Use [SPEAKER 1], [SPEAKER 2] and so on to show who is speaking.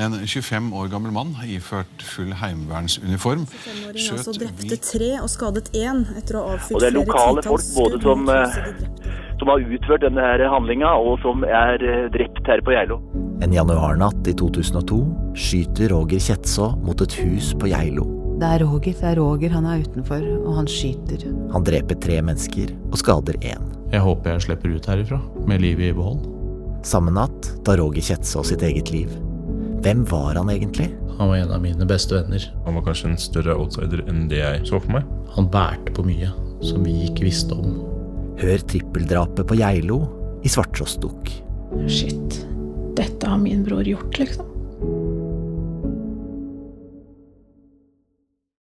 [SPEAKER 1] En 25 år gammel mann iført full heimevernsuniform
[SPEAKER 2] Femåringen altså
[SPEAKER 1] skjøt
[SPEAKER 2] drepte
[SPEAKER 1] vilt
[SPEAKER 2] tre og skadet én etter å ha avfyrt
[SPEAKER 3] Og det er
[SPEAKER 2] flere
[SPEAKER 3] lokale
[SPEAKER 2] titalls
[SPEAKER 3] folk, både
[SPEAKER 2] skudd
[SPEAKER 3] som,
[SPEAKER 2] mot
[SPEAKER 3] eh,
[SPEAKER 2] huset de drepte.
[SPEAKER 3] som har utført denne her handlinga, og som er eh, drept her på Geilo.
[SPEAKER 4] En januarnatt i 2002 skyter Roger Kjetsaa mot et hus på Geilo.
[SPEAKER 5] Det er Roger, det er Roger. Han er utenfor, og han skyter.
[SPEAKER 4] Han dreper tre mennesker og skader én.
[SPEAKER 6] Jeg håper jeg slipper ut herifra med livet i behold.
[SPEAKER 4] Samme natt tar Roger Kjetsaa sitt eget liv. Hvem var han egentlig?
[SPEAKER 6] Han var en av mine beste venner.
[SPEAKER 7] Han var kanskje en større outsider enn det jeg så for meg.
[SPEAKER 6] Han bærte på mye som vi ikke visste om.
[SPEAKER 4] Hør trippeldrapet på Geilo i Svarttrostdukk.
[SPEAKER 8] Shit, dette har min bror gjort, liksom.